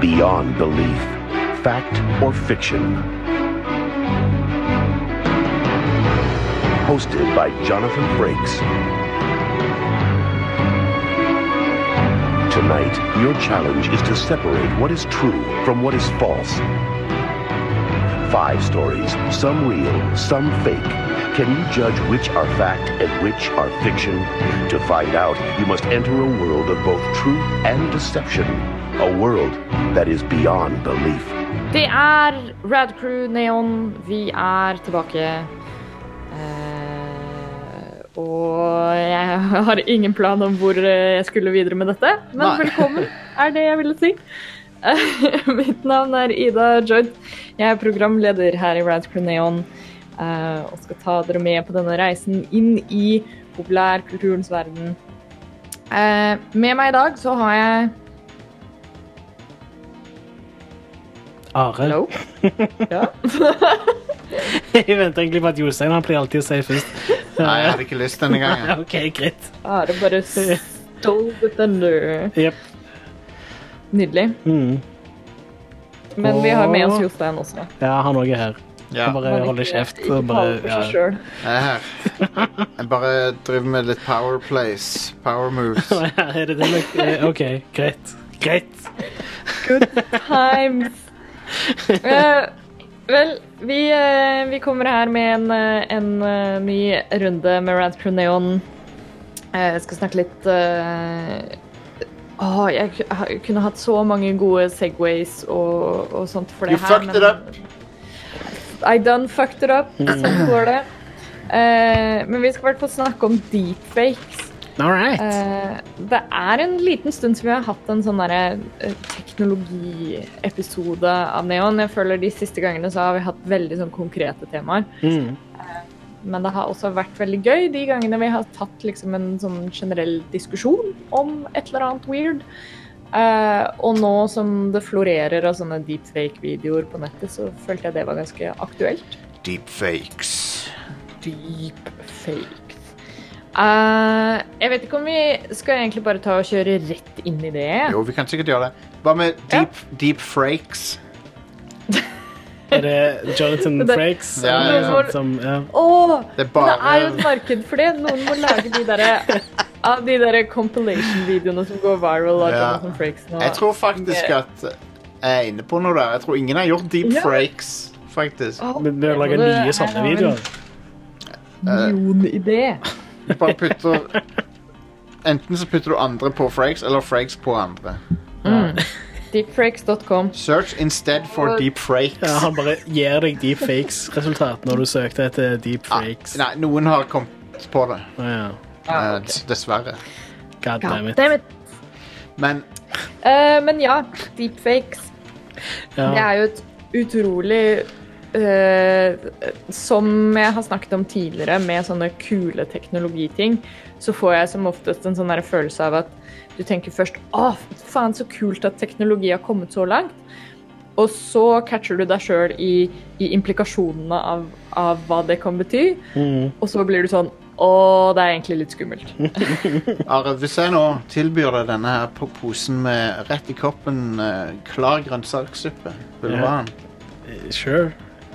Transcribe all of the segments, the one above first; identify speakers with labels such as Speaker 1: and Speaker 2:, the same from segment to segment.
Speaker 1: beyond belief, fact or fiction. Hosted by Jonathan Frakes. Tonight, your challenge is to separate what is true from what is false. Five stories, some real, some fake. Can you judge which are fact and which are fiction? To find out, you must enter a world of both truth and deception. A world that is beyond belief.
Speaker 2: Det er Rad Crew Neon. Vi er tilbake. Eh, og jeg har ingen plan om hvor eh, jeg skulle videre med dette, men
Speaker 3: Nei.
Speaker 2: velkommen er det jeg ville si. Eh, Mitt navn er Ida Joyd. Jeg er programleder her i Rad Crew Neon eh, og skal ta dere med på denne reisen inn i populærkulturens verden. Eh, med meg i dag så har jeg
Speaker 4: Are.
Speaker 2: Hello. Ja.
Speaker 4: Jeg venter egentlig på at Jostein han pleier alltid å si først.
Speaker 3: Nei, jeg hadde ikke lyst denne gangen.
Speaker 4: OK, greit.
Speaker 2: Are Ah, bare stole the thunder.
Speaker 4: Jep.
Speaker 2: Nydelig.
Speaker 4: Mm.
Speaker 2: Men vi har med oss Jostein også.
Speaker 4: Ja, han òg er her.
Speaker 3: Ja,
Speaker 4: Han bare
Speaker 2: Han
Speaker 4: holder
Speaker 2: ikke-
Speaker 4: kjeft.
Speaker 2: Ikke taler for
Speaker 4: Og bare,
Speaker 2: seg
Speaker 4: ja.
Speaker 2: selv.
Speaker 3: jeg er her. Jeg bare driver med litt power plays. Power moves.
Speaker 4: Er det det? nok? Eh, OK, greit. Greit.
Speaker 2: Times. Eh, vel, vi, eh, vi kommer her med en, eh, en eh, ny runde med Rant Proneon. Eh, Jeg skal snakke litt eh, Åh, jeg ku- ha- kunne hatt så mange gode Segways og, og sånt for det
Speaker 3: You
Speaker 2: her.
Speaker 3: fucked it up.
Speaker 2: I done fucked it up. Sånn
Speaker 3: Mm.
Speaker 2: går det. Eh, men vi skal i hvert fall snakke om deepfakes.
Speaker 4: All right.
Speaker 2: Eh, det er en liten stund siden vi har hatt en sånn derre, eh, teknologiepisode av Neon. Jeg føler De siste gangene så har vi hatt veldig sånn konkrete temaer.
Speaker 4: Mm.
Speaker 2: Men det har også vært veldig gøy de gangene vi har tatt liksom en sånn generell diskusjon om et eller annet weird. Eh, og nå som det florerer av sånne deepfake-videoer på nettet, så følte jeg det var ganske aktuelt.
Speaker 3: Deepfakes.
Speaker 2: Deepfakes. Eh, jeg vet ikke om vi skal egentlig bare ta og kjøre rett inn i det.
Speaker 3: Jo, vi kan sikkert gjøre det. Hva med deep, deepfrakes?
Speaker 4: Er det Jonathan
Speaker 2: Det-
Speaker 4: Frakes?
Speaker 3: Ja, ja,
Speaker 4: eller
Speaker 2: ja.
Speaker 4: noe sånt Som, ja.
Speaker 2: Åh,
Speaker 3: Det
Speaker 2: men
Speaker 3: er bare
Speaker 2: det er jo et marked for det. Noen må lage de derre av de der compilation-videoene som går viral. av
Speaker 3: Ja.
Speaker 2: Jonathan Frakes nå.
Speaker 3: Jeg tror faktisk at jeg er inne på noe der. Jeg tror ingen har gjort deepfrakes, faktisk.
Speaker 2: Åh,
Speaker 4: Vi bør lage
Speaker 2: det-
Speaker 4: nye sånne
Speaker 2: jeg har
Speaker 4: videoer.
Speaker 3: eh,
Speaker 2: en Millionidé.
Speaker 3: Du bare putter Enten så putter du andre på frakes, eller frakes på andre.
Speaker 4: Mm.
Speaker 2: Deepfrakes.com.
Speaker 3: Search instead for
Speaker 4: Ja,
Speaker 3: deepfrakes.
Speaker 4: han bare gir deg deep fakes-resultat når du søkte etter deep fakes.
Speaker 3: Ah, Nei, noen har kommet på det.
Speaker 4: Ja.
Speaker 2: Ja,
Speaker 3: eh, Dessverre.
Speaker 4: God damn it.
Speaker 2: Damn it.
Speaker 3: Men
Speaker 2: Eh, men ja, deepfakes. Det
Speaker 4: Ja.
Speaker 2: er jo et utrolig eh, Som jeg har snakket om tidligere, med sånne kule teknologiting, så får jeg som oftest en sånn der følelse av at du tenker først Å, faen, så kult at teknologi har kommet så langt. Og så catcher du deg sjøl i, i implikasjonene av, av hva det kan bety.
Speaker 4: Mm.
Speaker 2: Og så blir du sånn Å, det er egentlig litt skummelt.
Speaker 3: Are, hvis jeg nå tilbyr deg denne her på posen med rett i koppen eh, klar grønnsakssuppe, vil du
Speaker 4: Ja.
Speaker 3: ha den?
Speaker 4: Sure.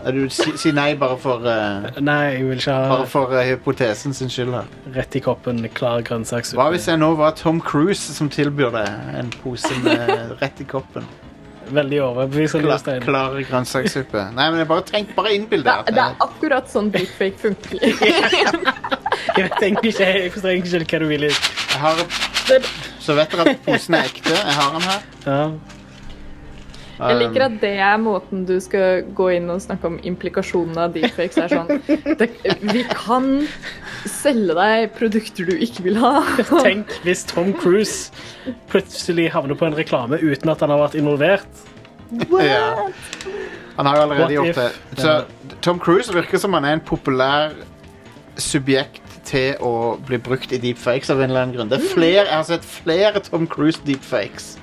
Speaker 3: Er Du si, si nei bare for, eh,
Speaker 4: Nei, jeg vil ikke
Speaker 3: bare
Speaker 4: ha
Speaker 3: for eh, hypotesen sin skyld. her.
Speaker 4: rett i koppen klar grønnsakssuppe.
Speaker 3: Hva hvis jeg nå var Tom Cruise som tilbyr deg en pose med rett i koppen?
Speaker 4: Veldig overbevisende,
Speaker 3: Kla,
Speaker 4: Jostein.
Speaker 3: klar grønnsakssuppe. Nei, men jeg bare tenk, bare
Speaker 2: Det,
Speaker 3: innbill deg at
Speaker 2: det er
Speaker 3: jeg-
Speaker 2: akkurat sånn deepfake funker.
Speaker 4: Jeg vet egentlig ikke, jeg forstår egentlig ikke hva du vil.
Speaker 3: jeg har
Speaker 2: Det-
Speaker 3: Så vet dere at posen er ekte. Jeg har den her.
Speaker 4: Ja.
Speaker 3: Um,
Speaker 2: Jeg liker at det er måten du skal gå inn og snakke om implikasjonene av deepfakes. er sånn, det, Vi kan selge deg produkter du ikke vil ha.
Speaker 4: Tenk hvis Tom Cruise plutselig havner på en reklame uten at han har vært involvert.
Speaker 3: Ja. Han har jo
Speaker 4: What
Speaker 3: allerede gjort
Speaker 4: if?
Speaker 3: det. Så Tom Cruise virker som han er en populær subjekt til å bli brukt i deepfakes av en eller annen grunn. Det er flere, jeg har sett flere Tom Cruise deepfakes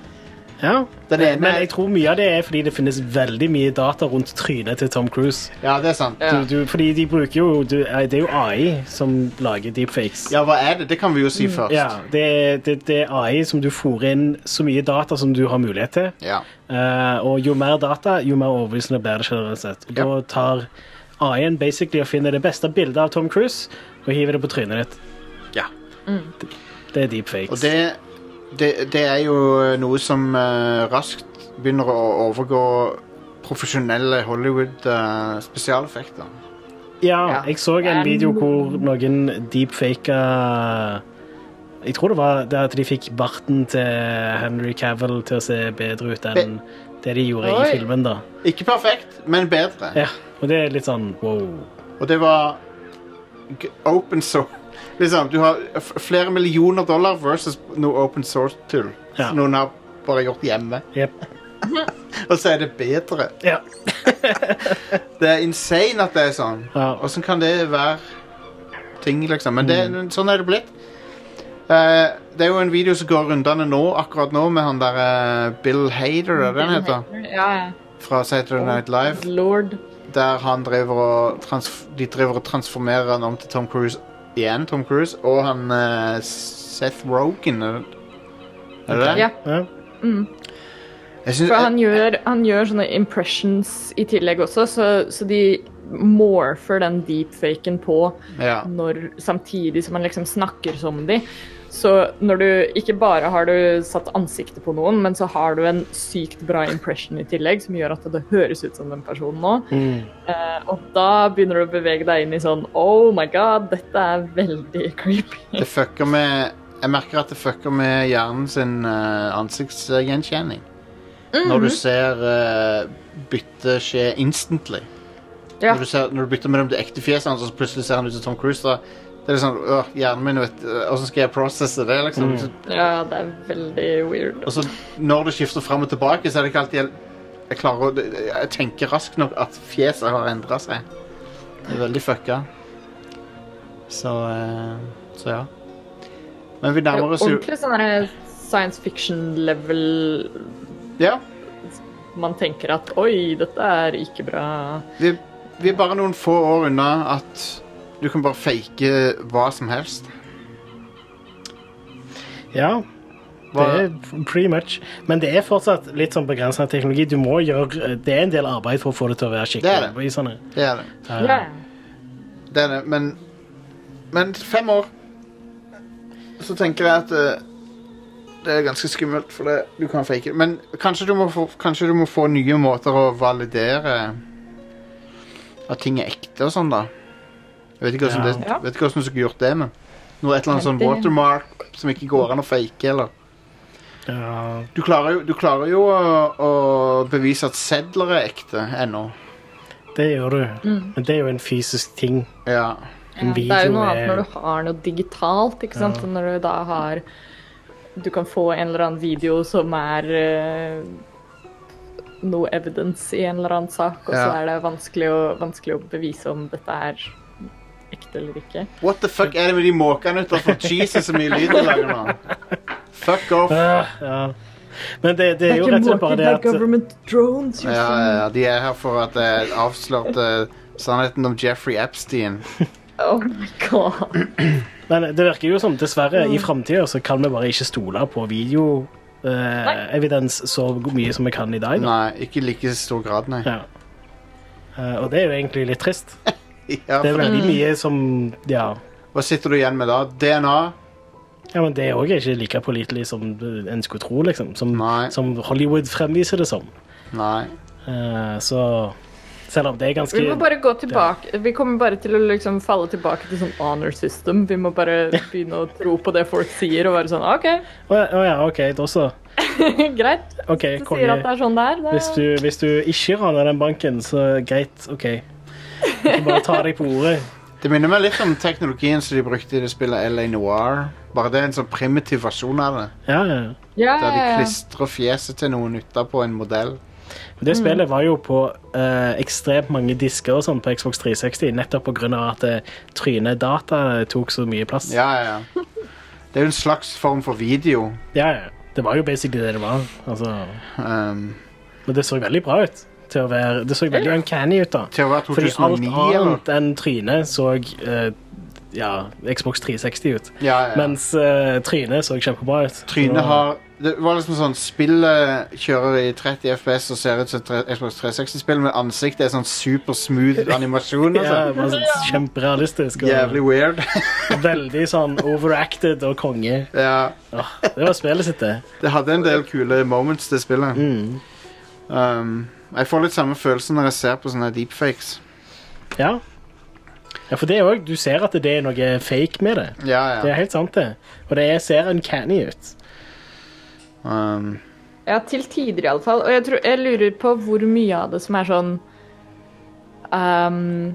Speaker 4: Ja.
Speaker 3: Den ene-
Speaker 4: Men jeg tror mye av det er fordi det finnes veldig mye data rundt trynet til Tom Cruise.
Speaker 3: Ja, det er sant.
Speaker 2: Ja.
Speaker 4: Du, du, fordi de bruker jo du, eh, Det er jo AI som lager deepfakes.
Speaker 3: Ja, hva er det? Det kan vi jo si først.
Speaker 4: Mm, Ja, det, er- det, det er AI som du fôrer inn så mye data som du har mulighet til.
Speaker 3: Ja.
Speaker 4: Eh, og jo mer data, jo mer overbevisende blir det generelt sett. Og Da
Speaker 3: Ja.
Speaker 4: tar AI-en basically og finner det beste bildet av Tom Cruise og hiver det på trynet ditt.
Speaker 3: Ja.
Speaker 2: Mm.
Speaker 4: Det er deepfakes.
Speaker 3: Og det, det, det er jo noe som eh, raskt begynner å overgå profesjonelle eh, Hollywood-spesialeffekter.
Speaker 4: Ja,
Speaker 2: Ja.
Speaker 4: jeg så en
Speaker 2: Men-
Speaker 4: video hvor noen deepfaka Jeg tror det var det at de fikk barten til Henry Cavill til å se bedre ut enn det de gjorde
Speaker 2: Oi.
Speaker 4: i filmen, da.
Speaker 3: Ikke perfekt, men bedre.
Speaker 4: Ja, og det er litt sånn wow.
Speaker 3: Og det var g- open source. Liksom, du har f- flere millioner dollar versus noe open source-tull.
Speaker 4: Ja.
Speaker 3: Som noen har bare gjort hjemme.
Speaker 4: Jep.
Speaker 3: Og så er det bedre.
Speaker 4: Ja.
Speaker 3: Det er insane at det er sånn.
Speaker 4: Ja.
Speaker 3: Åssen kan det være ting, liksom? Men det,
Speaker 4: Mm.
Speaker 3: sånn er det blitt. Eh, det er jo en video som går rundene nå, akkurat nå, med han der eh, Bill Hader, er det han heter?
Speaker 2: Ja, ja.
Speaker 3: Fra Saturday Night Live.
Speaker 2: Lord.
Speaker 3: Der han driver og trans de driver og transformerer han om til Tom Cruise igjen. Tom Cruise Og han eh, Seth Rogan, er det- er det det?
Speaker 2: Ja.
Speaker 4: Ja.
Speaker 3: Jeg synes,
Speaker 2: For han gjør, han gjør sånne impressions i tillegg også, så, så de morfer den deepfaken på
Speaker 3: ja.
Speaker 2: når, samtidig som han liksom snakker som de. Så når du ikke bare har du satt ansiktet på noen, men så har du en sykt bra impression i tillegg, som gjør at det høres ut som den personen nå. Eh, og da begynner du å bevege deg inn i sånn Oh my god, dette er veldig creepy.
Speaker 3: Det fucker med Jeg merker at det fucker med hjernen sin eh, ansiktsgjenkjenning. Når
Speaker 2: Mhm.
Speaker 3: du ser eh, bytte skje instantly.
Speaker 2: Ja.
Speaker 3: Når, du ser, når du bytter mellom det ekte fjeset hans, og så plutselig ser han ut som Tom Cruise, da det er det sånn øh, Hjernen min, vet Åssen skal jeg processe det, liksom?
Speaker 2: ja, det er veldig weird.
Speaker 3: Og så når det skifter fram og tilbake, så er det ikke alltid jeg, jeg klarer å Jeg tenker raskt nok at fjeset har endra seg. Det er veldig fucka. Så eh, Så ja. Men vi
Speaker 2: Det er
Speaker 3: nærmer oss jo
Speaker 2: ordentlig sånn der science fiction-level
Speaker 3: Ja.
Speaker 2: man tenker at oi, dette er ikke bra.
Speaker 3: Vi, vi er bare noen få år unna at du kan bare fake hva som helst.
Speaker 4: ja. Det
Speaker 3: Hva-
Speaker 4: er pretty much. Men det er fortsatt litt sånn begrensa teknologi. Du må gjøre, eh, det er en del arbeid for å få det til å være
Speaker 3: Det er
Speaker 4: skikkelig.
Speaker 3: det.
Speaker 4: i sånne-
Speaker 3: Det er det.
Speaker 4: Ja.
Speaker 2: Ja.
Speaker 3: det, er det. Men, men fem år Så tenker jeg at eh, det er ganske skummelt, for det, du kan fake det. Men kanskje du, må få, kanskje du må få nye måter å validere at ting er ekte og sånn, da. Jeg vet ikke
Speaker 4: Ja.
Speaker 3: hvordan, det,
Speaker 2: Ja.
Speaker 3: vet ikke hvordan du skulle gjort det med. Noe et eller annet
Speaker 2: Ja,
Speaker 3: sånn
Speaker 2: det-
Speaker 3: watermark som ikke går an å fake, eller
Speaker 4: Ja.
Speaker 3: Du klarer jo, du klarer jo å, å bevise at sedler er ekte ennå.
Speaker 4: Det gjør du. Men det er jo en fysisk ting.
Speaker 3: Ja.
Speaker 4: En
Speaker 2: Det er jo
Speaker 4: video
Speaker 2: noe annet
Speaker 4: er-
Speaker 2: når du har noe digitalt, ikke sant? Og Når du da har Du kan få en eller annen video som er eh, noe evidence i en eller annen sak, og så
Speaker 3: Ja.
Speaker 2: er det vanskelig å, vanskelig å bevise om dette er ekte eller ikke.
Speaker 3: What the fuck er det med de måkene utenfor? Jesus, så mye lyd de lager nå. Fuck off.
Speaker 4: Ah,
Speaker 3: Ja,
Speaker 4: ja. Men det, det er jo rett og slett bare det at
Speaker 2: government drones.
Speaker 3: ja, ja, De er her for at jeg avslørte sannheten om Jeffrey Epstein.
Speaker 2: Oh my god.
Speaker 4: Men det virker jo som dessverre i framtida så kan vi bare ikke stole på videoevidens så mye som vi kan i dag. Da.
Speaker 3: Nei, ikke i like stor grad, nei.
Speaker 4: Ja. Eh, og det er jo egentlig litt trist.
Speaker 3: Ja,
Speaker 4: Det er
Speaker 3: for,
Speaker 4: veldig mye som Ja,
Speaker 3: hva sitter du igjen med da? DNA?
Speaker 4: ja men det er òg ikke like pålitelig som en skulle tro, liksom. Som,
Speaker 3: Nei.
Speaker 4: som Hollywood fremviser det som.
Speaker 3: Nei.
Speaker 4: Eh, så selv om det er ganske
Speaker 2: Vi må bare gå tilbake. Vi kommer bare til å liksom falle tilbake til sånn honor system. Vi må bare begynne å tro på det folk sier, og være sånn OK,
Speaker 4: Å ja, å ja, OK, da så.
Speaker 2: greit.
Speaker 4: OK,
Speaker 2: Du sier at det
Speaker 4: konge.
Speaker 2: er sånn det er.
Speaker 4: Hvis
Speaker 2: Det...
Speaker 4: du, hvis du ikke raner den banken, så greit. OK. Jeg kan bare ta deg på ordet.
Speaker 3: Det minner meg litt om teknologien som de brukte i det spillet LA Noir. Bare det er en sånn primitiv versjon av det.
Speaker 4: Ja, ja, ja.
Speaker 2: Ja,
Speaker 3: Der de
Speaker 2: ja, ja.
Speaker 3: klistrer fjeset til noen utapå en modell.
Speaker 4: Det
Speaker 2: Mm.
Speaker 4: spillet var jo på eh, ekstremt mange disker og sånn på Xbox 360, nettopp pga. at eh, trynedata tok så mye plass.
Speaker 3: Ja, ja, ja. Det er jo en slags form for video.
Speaker 4: ja, ja. Det var jo basically det det var. Altså,
Speaker 3: Um,
Speaker 4: men det så veldig bra ut. Til å være, det så veldig uncanny ut, da.
Speaker 3: til å være
Speaker 4: Fordi
Speaker 3: 2009,
Speaker 4: alt
Speaker 3: eller?
Speaker 4: annet enn trynet så eh, ja, Xbox 360 ut.
Speaker 3: Ja, ja.
Speaker 4: Mens eh, trynet så kjempebra ut.
Speaker 3: Trynet
Speaker 4: Så-
Speaker 3: har Det var liksom sånn Spillet kjører i 30 FPS og ser ut som et tre- Xbox 360-spill, men ansiktet er sånn super smooth animasjon.
Speaker 4: ja,
Speaker 3: Altså.
Speaker 4: bare sånn Kjemperealistisk.
Speaker 3: Jævlig
Speaker 4: Og
Speaker 3: weird.
Speaker 4: veldig sånn overacted og konge.
Speaker 3: ja.
Speaker 4: Åh, det var spillet sitt, det.
Speaker 3: Det hadde en del kule moments, det spillet.
Speaker 4: Mm.
Speaker 3: Um, jeg får litt samme følelse når jeg ser på sånne deepfakes.
Speaker 4: Ja. ja, for det òg. Du ser at det er noe fake med det.
Speaker 3: Ja,
Speaker 4: Det
Speaker 3: ja.
Speaker 4: er helt sant, det. Og det ser uncanny ut.
Speaker 3: Um,
Speaker 2: Ja, til tider i alle fall. Og jeg, tror, jeg lurer på hvor mye av det som er sånn ehm,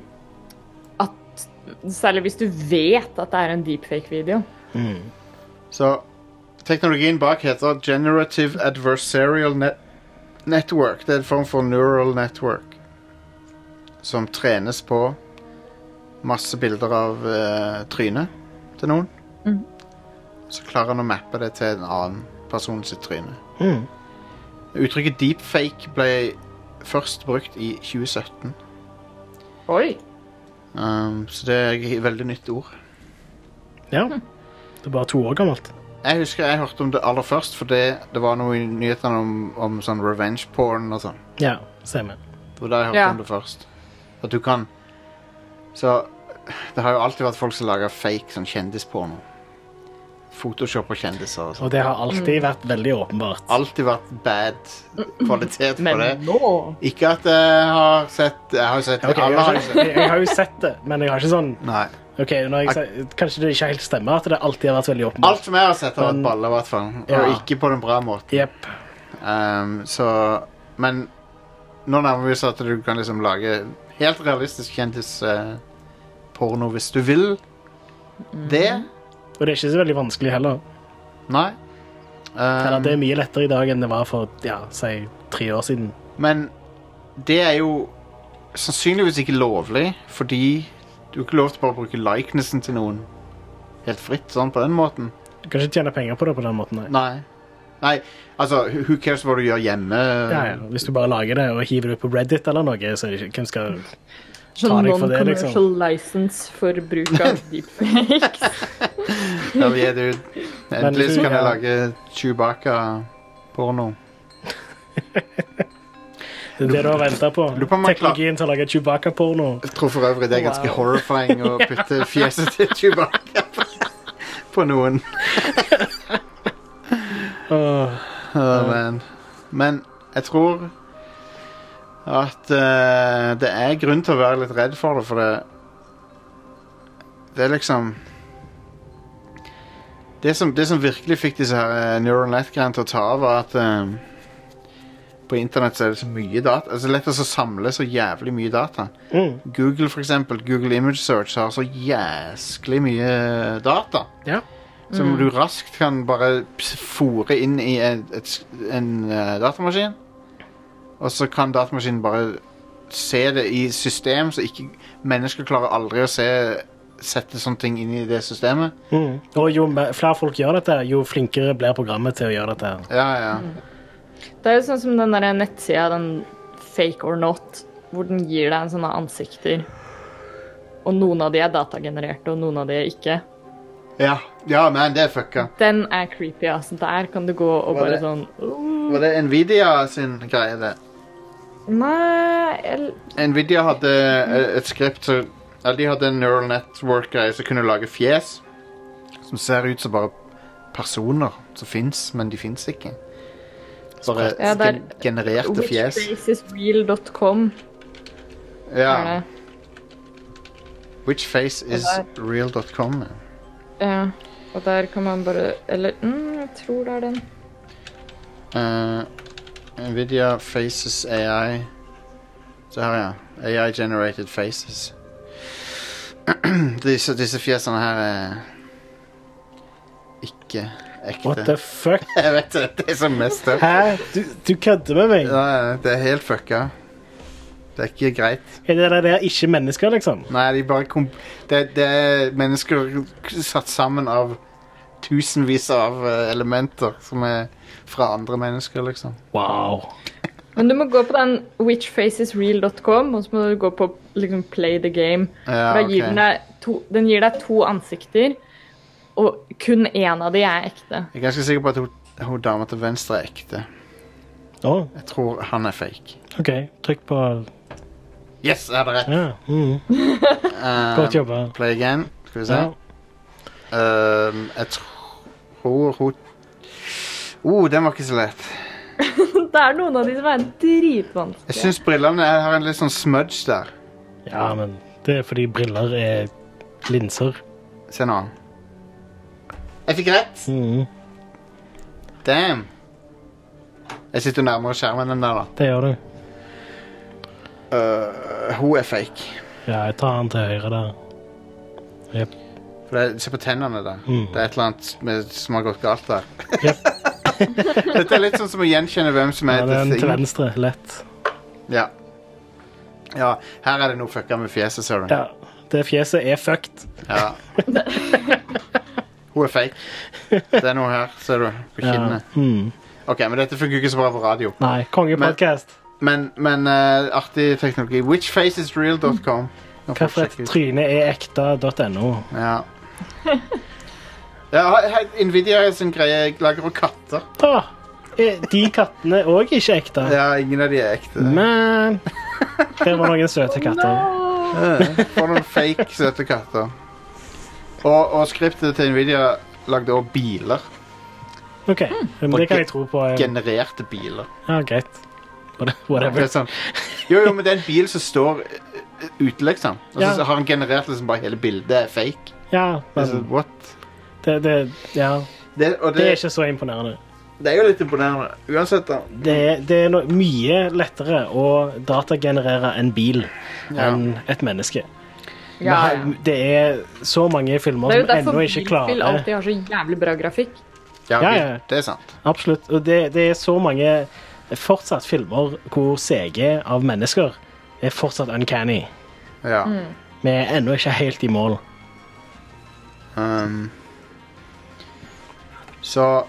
Speaker 2: At Særlig hvis du vet at det er en deepfake-video.
Speaker 3: så teknologien bak heter Generative Adversarial Net Network. Det er en form for neural network som trenes på masse bilder av eh, trynet til noen.
Speaker 2: Mhm.
Speaker 3: Så klarer han å mappe det til en annen person sitt tryne.
Speaker 4: Mm.
Speaker 3: Uttrykket deepfake ble først brukt i 2017.
Speaker 2: Oi!
Speaker 3: Um, så det er et veldig nytt ord.
Speaker 4: Ja. Det er bare to år gammelt.
Speaker 3: Jeg husker jeg hørte om det aller først, for det, det var noe i nyhetene om, om sånn revenge porn og sånn.
Speaker 4: Ja, stemmer.
Speaker 3: Det var da jeg hørte
Speaker 2: Ja.
Speaker 3: om det først. At du kan Så det har jo alltid vært folk som lager fake sånn kjendisporno. Photoshop og kjendiser og sånn.
Speaker 4: Og det har alltid vært veldig åpenbart.
Speaker 3: Alltid vært bad kvalitet på
Speaker 2: Men
Speaker 3: det.
Speaker 2: nå
Speaker 3: Ikke at jeg har sett Jeg har jo sett
Speaker 4: Ja, ok, jeg, har,
Speaker 3: alle har jo sett
Speaker 4: jeg, jeg har jo sett det, men jeg har ikke sånn
Speaker 3: Nei.
Speaker 4: Ok, når jeg, sier- Kanskje det ikke helt stemmer at det alltid har vært veldig åpenbart.
Speaker 3: Alt som jeg har sett, har vært
Speaker 4: Men-
Speaker 3: baller, i hvert fall. Og
Speaker 4: Ja.
Speaker 3: ikke på den bra måten.
Speaker 4: Jepp.
Speaker 3: Ehm, så Men nå nærmer vi oss at du kan liksom lage helt realistisk kjendisporno hvis du vil det.
Speaker 4: Og det er ikke så veldig vanskelig heller.
Speaker 3: Nei. Ehm,
Speaker 4: Eller det er mye lettere i dag enn det var for ja, si, tre år siden.
Speaker 3: Men det er jo sannsynligvis ikke lovlig, fordi du er ikke lov til bare å bruke likenessen til noen helt fritt sånn på den måten.
Speaker 4: Du kan ikke tjene penger på det på den måten. Nei.
Speaker 3: Nei. Nei, altså, who- who cares hva du gjør hjemme?
Speaker 4: Ja, ja. Mm. Hvis du bare lager det og hiver det ut på Reddit eller noe, så er det ikke, hvem skal
Speaker 2: Sånn
Speaker 4: deg for det, liksom.
Speaker 2: non-commercial license for bruk av deepfakes.
Speaker 3: Ja, vi er det jo. Endelig så kan jeg
Speaker 4: ja.
Speaker 3: lage Chewbacca-porno.
Speaker 4: Det er det du har venta på.
Speaker 3: Lurer på om man klar-
Speaker 4: Teknologien til å lage Chewbacca-porno.
Speaker 3: Jeg tror for øvrig det er ganske
Speaker 2: Wow.
Speaker 3: horrifying å putte fjeset til Chewbacca på- på noen.
Speaker 4: Åh,
Speaker 3: Åh, men. men jeg tror at eh, det er grunn til å være litt redd for det, for det Det er liksom Det som, det som virkelig fikk disse her eh, neural net-greiene til å ta av, var at eh, på internett så er det så mye data. Altså lett å så samle så jævlig mye data.
Speaker 4: Mm.
Speaker 3: Google for eksempel, Google Image Search har så jæsklig mye data
Speaker 4: Ja.
Speaker 3: som du raskt kan bare ps- fòre inn i en, et, s- en eh, datamaskin. Og så kan datamaskinen bare se det i system, så ikke mennesker klarer aldri å se sette sånne ting inn i det systemet.
Speaker 4: Mm. Og jo me- flere folk gjør dette, jo flinkere blir programmet til å gjøre dette. her.
Speaker 3: Ja, ja.
Speaker 2: Det er jo sånn som den der nettsida, den fake or not, hvor den gir deg en sånne ansikter. Og noen av de er datagenererte, og noen av de er ikke.
Speaker 3: Ja, ja men det er fucka.
Speaker 2: Den er creepy, altså. Der kan du gå og
Speaker 3: Var
Speaker 2: bare
Speaker 3: det-
Speaker 2: sånn «Åh».
Speaker 3: Var det Nvidia sin greie, det?
Speaker 2: Nei jeg...
Speaker 3: Nvidia hadde eh, et skript så, eller De hadde en neural network-greie som kunne lage fjes som ser ut som bare personer som fins, men de fins ikke. Bare
Speaker 2: Ja, det er-
Speaker 3: gen genererte fjes.
Speaker 2: Whichfaceisreal.com er
Speaker 3: Ja.
Speaker 2: det.
Speaker 3: Whichfaceisreal.com. ja.
Speaker 2: Ja. Og der kan man bare Eller mm, jeg tror det er den.
Speaker 3: Eh, Nvidia Faces AI. Se her, ja. AI-generated faces. disse, disse fjesene her er ikke ekte.
Speaker 4: What the fuck?
Speaker 3: Jeg vet det. Det er som mest tøft.
Speaker 4: Hæ? Du, du kødder med meg?
Speaker 3: Ja, ja, det er helt fucka. Det er ikke greit.
Speaker 4: Er det der ikke mennesker, liksom?
Speaker 3: Nei, de bare kom... Det, det er mennesker satt sammen av tusenvis av eh, elementer som er fra andre mennesker, liksom.
Speaker 4: Wow.
Speaker 2: Men du må gå på den whichfacesreal.com, og så må du gå på liksom, play the game.
Speaker 3: Ja,
Speaker 2: For da gir
Speaker 3: ok.
Speaker 2: den, deg to, den gir deg to ansikter, og kun én av de er ekte.
Speaker 3: Jeg er ganske sikker på at hun, hun dama til venstre er ekte.
Speaker 4: Å,
Speaker 3: Jeg tror han er fake.
Speaker 4: OK. Trykk på
Speaker 3: Yes, jeg hadde rett. Um,
Speaker 4: Ja. Mm. Godt jobba.
Speaker 3: Play again. Skal vi se.
Speaker 4: Ja.
Speaker 3: Ehm, jeg tror hun oh, den var ikke så lett.
Speaker 2: Det er noen av de som er
Speaker 3: Jeg
Speaker 2: dritvanskelige.
Speaker 3: syns brillene jeg har en litt sånn smudge der.
Speaker 4: ja, men det er fordi briller er linser.
Speaker 3: Se nå. Jeg fikk rett.
Speaker 4: Mm.
Speaker 3: Damn. Jeg sitter nærmere skjermen enn der, da.
Speaker 4: Det gjør du.
Speaker 3: Øh, hun er fake.
Speaker 4: Ja, jeg tar han til høyre der. Jep.
Speaker 3: For det, se på tennene der.
Speaker 4: Mm.
Speaker 3: Det er et eller annet med, som har gått galt der.
Speaker 4: Jep.
Speaker 3: Dette er litt sånn som å gjenkjenne hvem som
Speaker 4: Ja,
Speaker 3: er
Speaker 4: den
Speaker 3: the
Speaker 4: til
Speaker 3: thing.
Speaker 4: venstre. Lett.
Speaker 3: Ja. ja, her er det noe fucka med fjeset, ser du.
Speaker 4: Ja. Det fjeset er fucked.
Speaker 3: Ja. Hun er fake. Det er noe her, ser du. På
Speaker 4: Ja.
Speaker 3: kinnene.
Speaker 4: Mm.
Speaker 3: Ok, men dette funker jo ikke så bra på radio.
Speaker 4: Nei. Kongepodkast.
Speaker 3: Men, men eh, artig teknologi. Whichfaceisreal.com. Nå får vi
Speaker 4: Hvorfor et
Speaker 3: sjekke ut.
Speaker 4: tryne er ekte.no.
Speaker 3: Ja. ja, he- Nvidia er sin greie. Jeg lager jo katter.
Speaker 4: Ah, er de kattene òg ikke ekte?
Speaker 3: Ja, ingen av de er ekte.
Speaker 4: Men Det var noen søte katter.
Speaker 2: Åh,
Speaker 3: Får noen fake søte katter. Og, og skriptet til Nvidia lagde også biler.
Speaker 4: OK, men det kan jeg tro på. eh,
Speaker 3: Genererte biler.
Speaker 4: Ja, greit.
Speaker 3: Det
Speaker 4: Whatever.
Speaker 3: er sånn. Jo, jo, men det er en bil som står eh, ute, liksom. Og så
Speaker 4: Ja.
Speaker 3: har han generert liksom bare hele bildet. Det er fake.
Speaker 4: Ja,
Speaker 3: Det er sånn,
Speaker 4: men
Speaker 3: what?
Speaker 4: det, det, ja,
Speaker 3: Det, og
Speaker 4: det er
Speaker 3: det,
Speaker 4: ikke så imponerende.
Speaker 3: det er jo litt imponerende. Uansett, da.
Speaker 4: Det, er- det er no, mye lettere å datagenerere en bil
Speaker 3: Ja.
Speaker 4: enn et menneske.
Speaker 2: ja, ja.
Speaker 4: Men Det er så mange
Speaker 2: Det
Speaker 4: filmer
Speaker 2: er jo
Speaker 4: som
Speaker 2: derfor
Speaker 4: ennå ikke
Speaker 2: Bilfill
Speaker 4: klarer
Speaker 2: alltid har så jævlig bra grafikk.
Speaker 3: Ja,
Speaker 4: Ja, ja.
Speaker 3: Det er sant.
Speaker 4: Absolutt. Og det, det er så mange fortsatt filmer hvor CG av mennesker er fortsatt uncanny.
Speaker 3: Ja.
Speaker 4: Vi er ennå ikke helt i mål.
Speaker 3: Um, så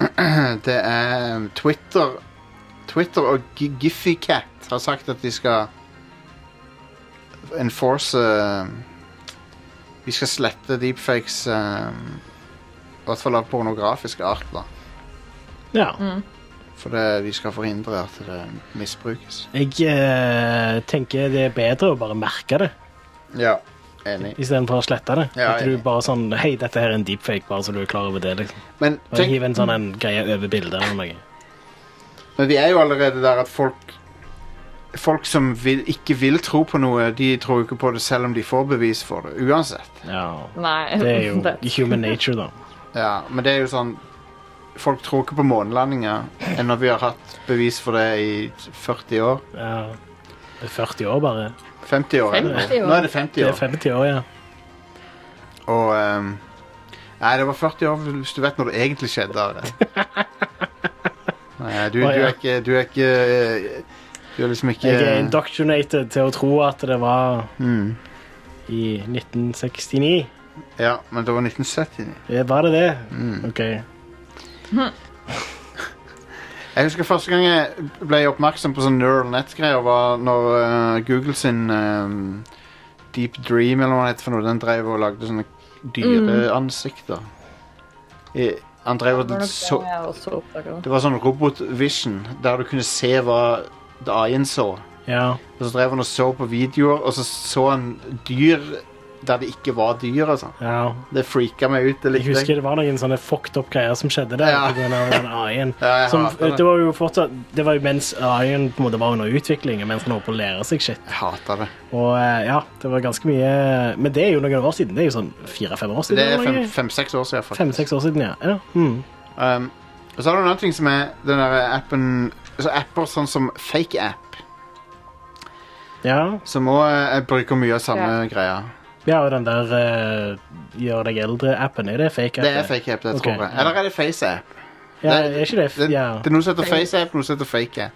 Speaker 3: Det er um, Twitter Twitter og G- Giphycat har sagt at de skal enforce um, Vi skal slette deepfakes um, I hvert fall av pornografisk art, da.
Speaker 4: Ja.
Speaker 2: Mm.
Speaker 3: For det, de skal forhindre at det misbrukes.
Speaker 4: Jeg eh, tenker det er bedre å bare merke det
Speaker 3: Ja. Enig.
Speaker 4: istedenfor å slette det.
Speaker 3: Ja,
Speaker 4: At
Speaker 3: ja.
Speaker 4: du bare sånn Hei, dette her er en deepfake, bare så du er klar over det. liksom.
Speaker 3: Men
Speaker 4: Bare
Speaker 3: tenk
Speaker 4: Hiv en sånn en greie over bildet eller noe.
Speaker 3: Men vi er jo allerede der at folk Folk som vil, ikke vil tro på noe, de tror jo ikke på det selv om de får bevis for det. Uansett.
Speaker 4: Ja.
Speaker 2: Nei,
Speaker 4: Det er
Speaker 2: det-
Speaker 4: jo human nature, da.
Speaker 3: Ja, Men det er jo sånn Folk tror ikke på månelandinger ennå vi har hatt bevis for det i 40 år.
Speaker 4: Ja. Det er 40 år, bare.
Speaker 3: 50 år. eller?
Speaker 2: 50 år.
Speaker 3: Nå er det
Speaker 4: Det
Speaker 3: 50
Speaker 4: er
Speaker 3: år.
Speaker 4: 50 år, ja.
Speaker 3: Og ehm, Nei, det var 40 år hvis du vet når det egentlig skjedde. Are. Nei, du, du
Speaker 4: Å, ja.
Speaker 3: er ikke Du er ikke eh, Du er liksom ikke
Speaker 4: Jeg er indoctrinated til å tro at det var
Speaker 3: Mm.
Speaker 4: i 1969.
Speaker 3: Ja, men det var 1979.
Speaker 4: Eh, Var det det?
Speaker 3: Mm.
Speaker 4: OK.
Speaker 3: Jeg husker første gang jeg ble oppmerksom på sånn neural net-greier, var når eh, Google sin eh, Deep Dream eller hva det heter for noe, den drev og lagde sånne dyreansikter. I, han drev
Speaker 2: Mm. Det
Speaker 3: og
Speaker 2: var nok
Speaker 3: så
Speaker 2: det jeg også oppdaget.
Speaker 3: Det var sånn robot-vision, der du kunne se hva AI-en så.
Speaker 4: Ja.
Speaker 3: Og så drev han og så på videoer, og så så han dyr der det ikke var dyr og sånn.
Speaker 4: ja.
Speaker 3: Det freaka meg ut. Det
Speaker 4: Jeg
Speaker 3: likte
Speaker 4: husker det var noen sånne fucked up greier som skjedde der.
Speaker 3: Ja.
Speaker 4: på grunn av den AI-en.
Speaker 3: Ja, jeg
Speaker 4: Som, eh,
Speaker 3: hater det.
Speaker 4: det var jo fortsatt, det var jo mens AI-en på en måte var under utvikling, og mens han holdt på å lære seg shit.
Speaker 3: Jeg hata det.
Speaker 4: Og eh, ja, det var ganske mye Men det er jo noen år siden. Det er jo sånn fire-fem år
Speaker 3: Det
Speaker 4: siden.
Speaker 3: er
Speaker 4: eller noe.
Speaker 3: fem-seks år siden. faktisk.
Speaker 4: Fem-seks år siden, ja. ja. Mm.
Speaker 3: Um, og så er det en annen ting som er den der appen altså Apper sånn som fake app,
Speaker 4: ja.
Speaker 3: som òg bruker mye av samme greia.
Speaker 4: ja og den der eh, gjør deg eldre-appen, er det fake?
Speaker 3: Det er
Speaker 4: app,
Speaker 3: fake app, det
Speaker 4: Ok,
Speaker 3: tror jeg.
Speaker 4: ja.
Speaker 3: Eller er det face app?
Speaker 4: Ja,
Speaker 3: det-
Speaker 4: er ikke det? f-
Speaker 3: Det,
Speaker 4: Ja.
Speaker 3: det er noe som heter face app, noe som heter fake app.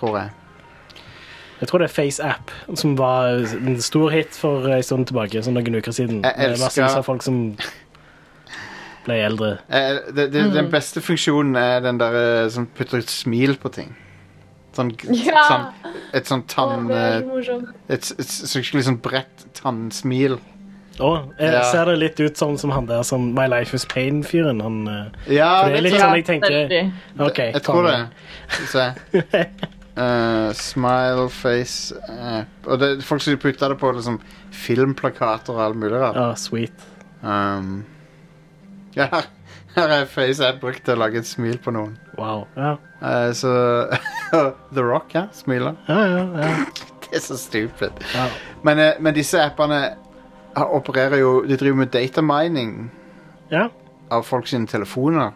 Speaker 3: Tror jeg.
Speaker 4: Jeg tror det er FaceApp, som var en stor hit for en stund tilbake. sånn noen uker siden.
Speaker 3: Jeg
Speaker 4: Med
Speaker 3: elsker-
Speaker 4: Massevis av folk som ble eldre.
Speaker 3: Eh, det, det,
Speaker 2: Mm.
Speaker 3: Den beste funksjonen er den der eh, som putter et smil på ting. Sånn,
Speaker 2: Ja.
Speaker 3: sånn Et sånn tann...
Speaker 2: det er
Speaker 3: eh,
Speaker 2: så morsomt.
Speaker 3: Et, et, skikkelig sånn bredt tannsmil.
Speaker 4: Og jeg
Speaker 3: Ja.
Speaker 4: ser det litt ut sånn som han der som My Life Is Pain-fyren. Han eh,
Speaker 3: Ja,
Speaker 4: For det er litt
Speaker 3: vet du
Speaker 4: sånn
Speaker 3: hva?
Speaker 4: jeg tenker
Speaker 2: veldig.
Speaker 4: OK.
Speaker 3: Jeg tror det.
Speaker 4: konge.
Speaker 3: Skal vi se. Eh, smile, face app Og det er folk som putter det på liksom, filmplakater og alt mulig rart.
Speaker 4: Ja, Ah, sweet.
Speaker 3: Um, ja, her, her er face app brukt til å lage et smil på noen.
Speaker 4: Wow. Ja,
Speaker 3: Eh, så The Rock, ja. Smiler.
Speaker 4: ja, ja. ja.
Speaker 3: Det er så stupid.
Speaker 4: ja.
Speaker 3: Men, eh, men disse appene har- opererer jo De driver med datamining
Speaker 4: ja.
Speaker 3: av folk sine telefoner.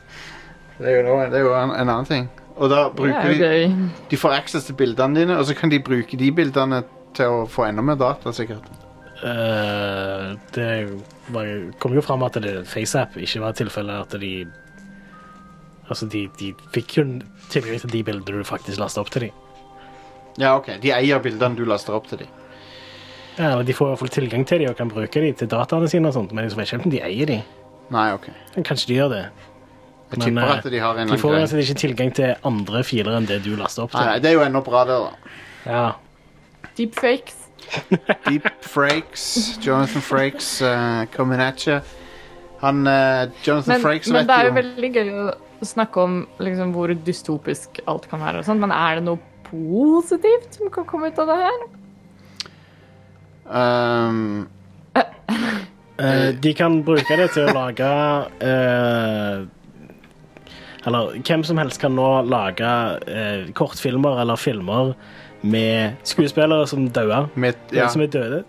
Speaker 3: Det er jo, noe, det er jo en, en annen ting. Og da
Speaker 2: Det
Speaker 3: bruker
Speaker 2: er jo
Speaker 3: de
Speaker 2: gøy.
Speaker 3: De får access til bildene dine, og så kan de bruke de bildene til å få enda mer data, sikkert.
Speaker 4: Eh, det var, jo- kom jo fram at det FaceApp ikke var tilfellet at de Altså, de, de fikk jo tilgang til de bildene du faktisk lasta opp til dem.
Speaker 3: Ja, ok. De eier bildene du laster opp til de.
Speaker 4: Ja, eller de får i hvert fall tilgang til dem og kan bruke dem til dataene sine, og sånt, men jeg vet ikke om de eier dem.
Speaker 3: Nei, ok.
Speaker 4: Kanskje de gjør det.
Speaker 3: Jeg
Speaker 4: Men,
Speaker 3: tipper
Speaker 4: eh,
Speaker 3: at de har en
Speaker 4: De
Speaker 3: eller
Speaker 4: får
Speaker 3: annen
Speaker 4: altså
Speaker 3: greie.
Speaker 4: ikke tilgang til andre filer enn det du lasta opp
Speaker 3: Nei, nei,
Speaker 4: til.
Speaker 3: det er jo enda bra, det, da.
Speaker 4: Ja.
Speaker 2: Deepfakes.
Speaker 3: Deep Frakes, Jonathan Frakes, uh, coming at you. Han eh, Jonathan
Speaker 2: Men,
Speaker 3: Frakes
Speaker 2: men
Speaker 3: vet
Speaker 2: det er jo
Speaker 3: jo
Speaker 2: veldig gøy å snakke om liksom, hvor dystopisk alt kan være. Og sånt. Men er det noe positivt som kan komme ut av det her?
Speaker 3: Ehm,
Speaker 4: Eh, de kan bruke det til å lage eh, Eller hvem som helst kan nå lage eh, kortfilmer eller filmer med skuespillere som dauer.
Speaker 3: med, ja.
Speaker 4: eller Som er døde.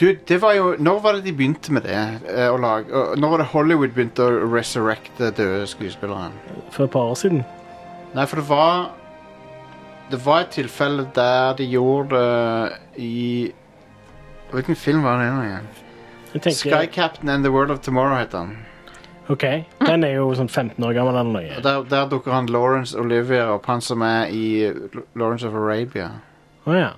Speaker 3: Du, det var jo Når var det de begynte med det? eh, å lage, og når var det Hollywood begynte å resurrecte døde skuespillere?
Speaker 4: For et par år siden.
Speaker 3: Nei, for det var Det var et tilfelle der de gjorde det i Hvilken film var det nå igjen?
Speaker 4: Jeg tenker,
Speaker 3: Sky Captain and the World of Tomorrow het han.
Speaker 4: ok, Den er jo sånn 15 år gammel eller noe.
Speaker 3: Der, der dukker han Lawrence Olivier opp, han som er i L- Lawrence of Arabia.
Speaker 4: Å ja.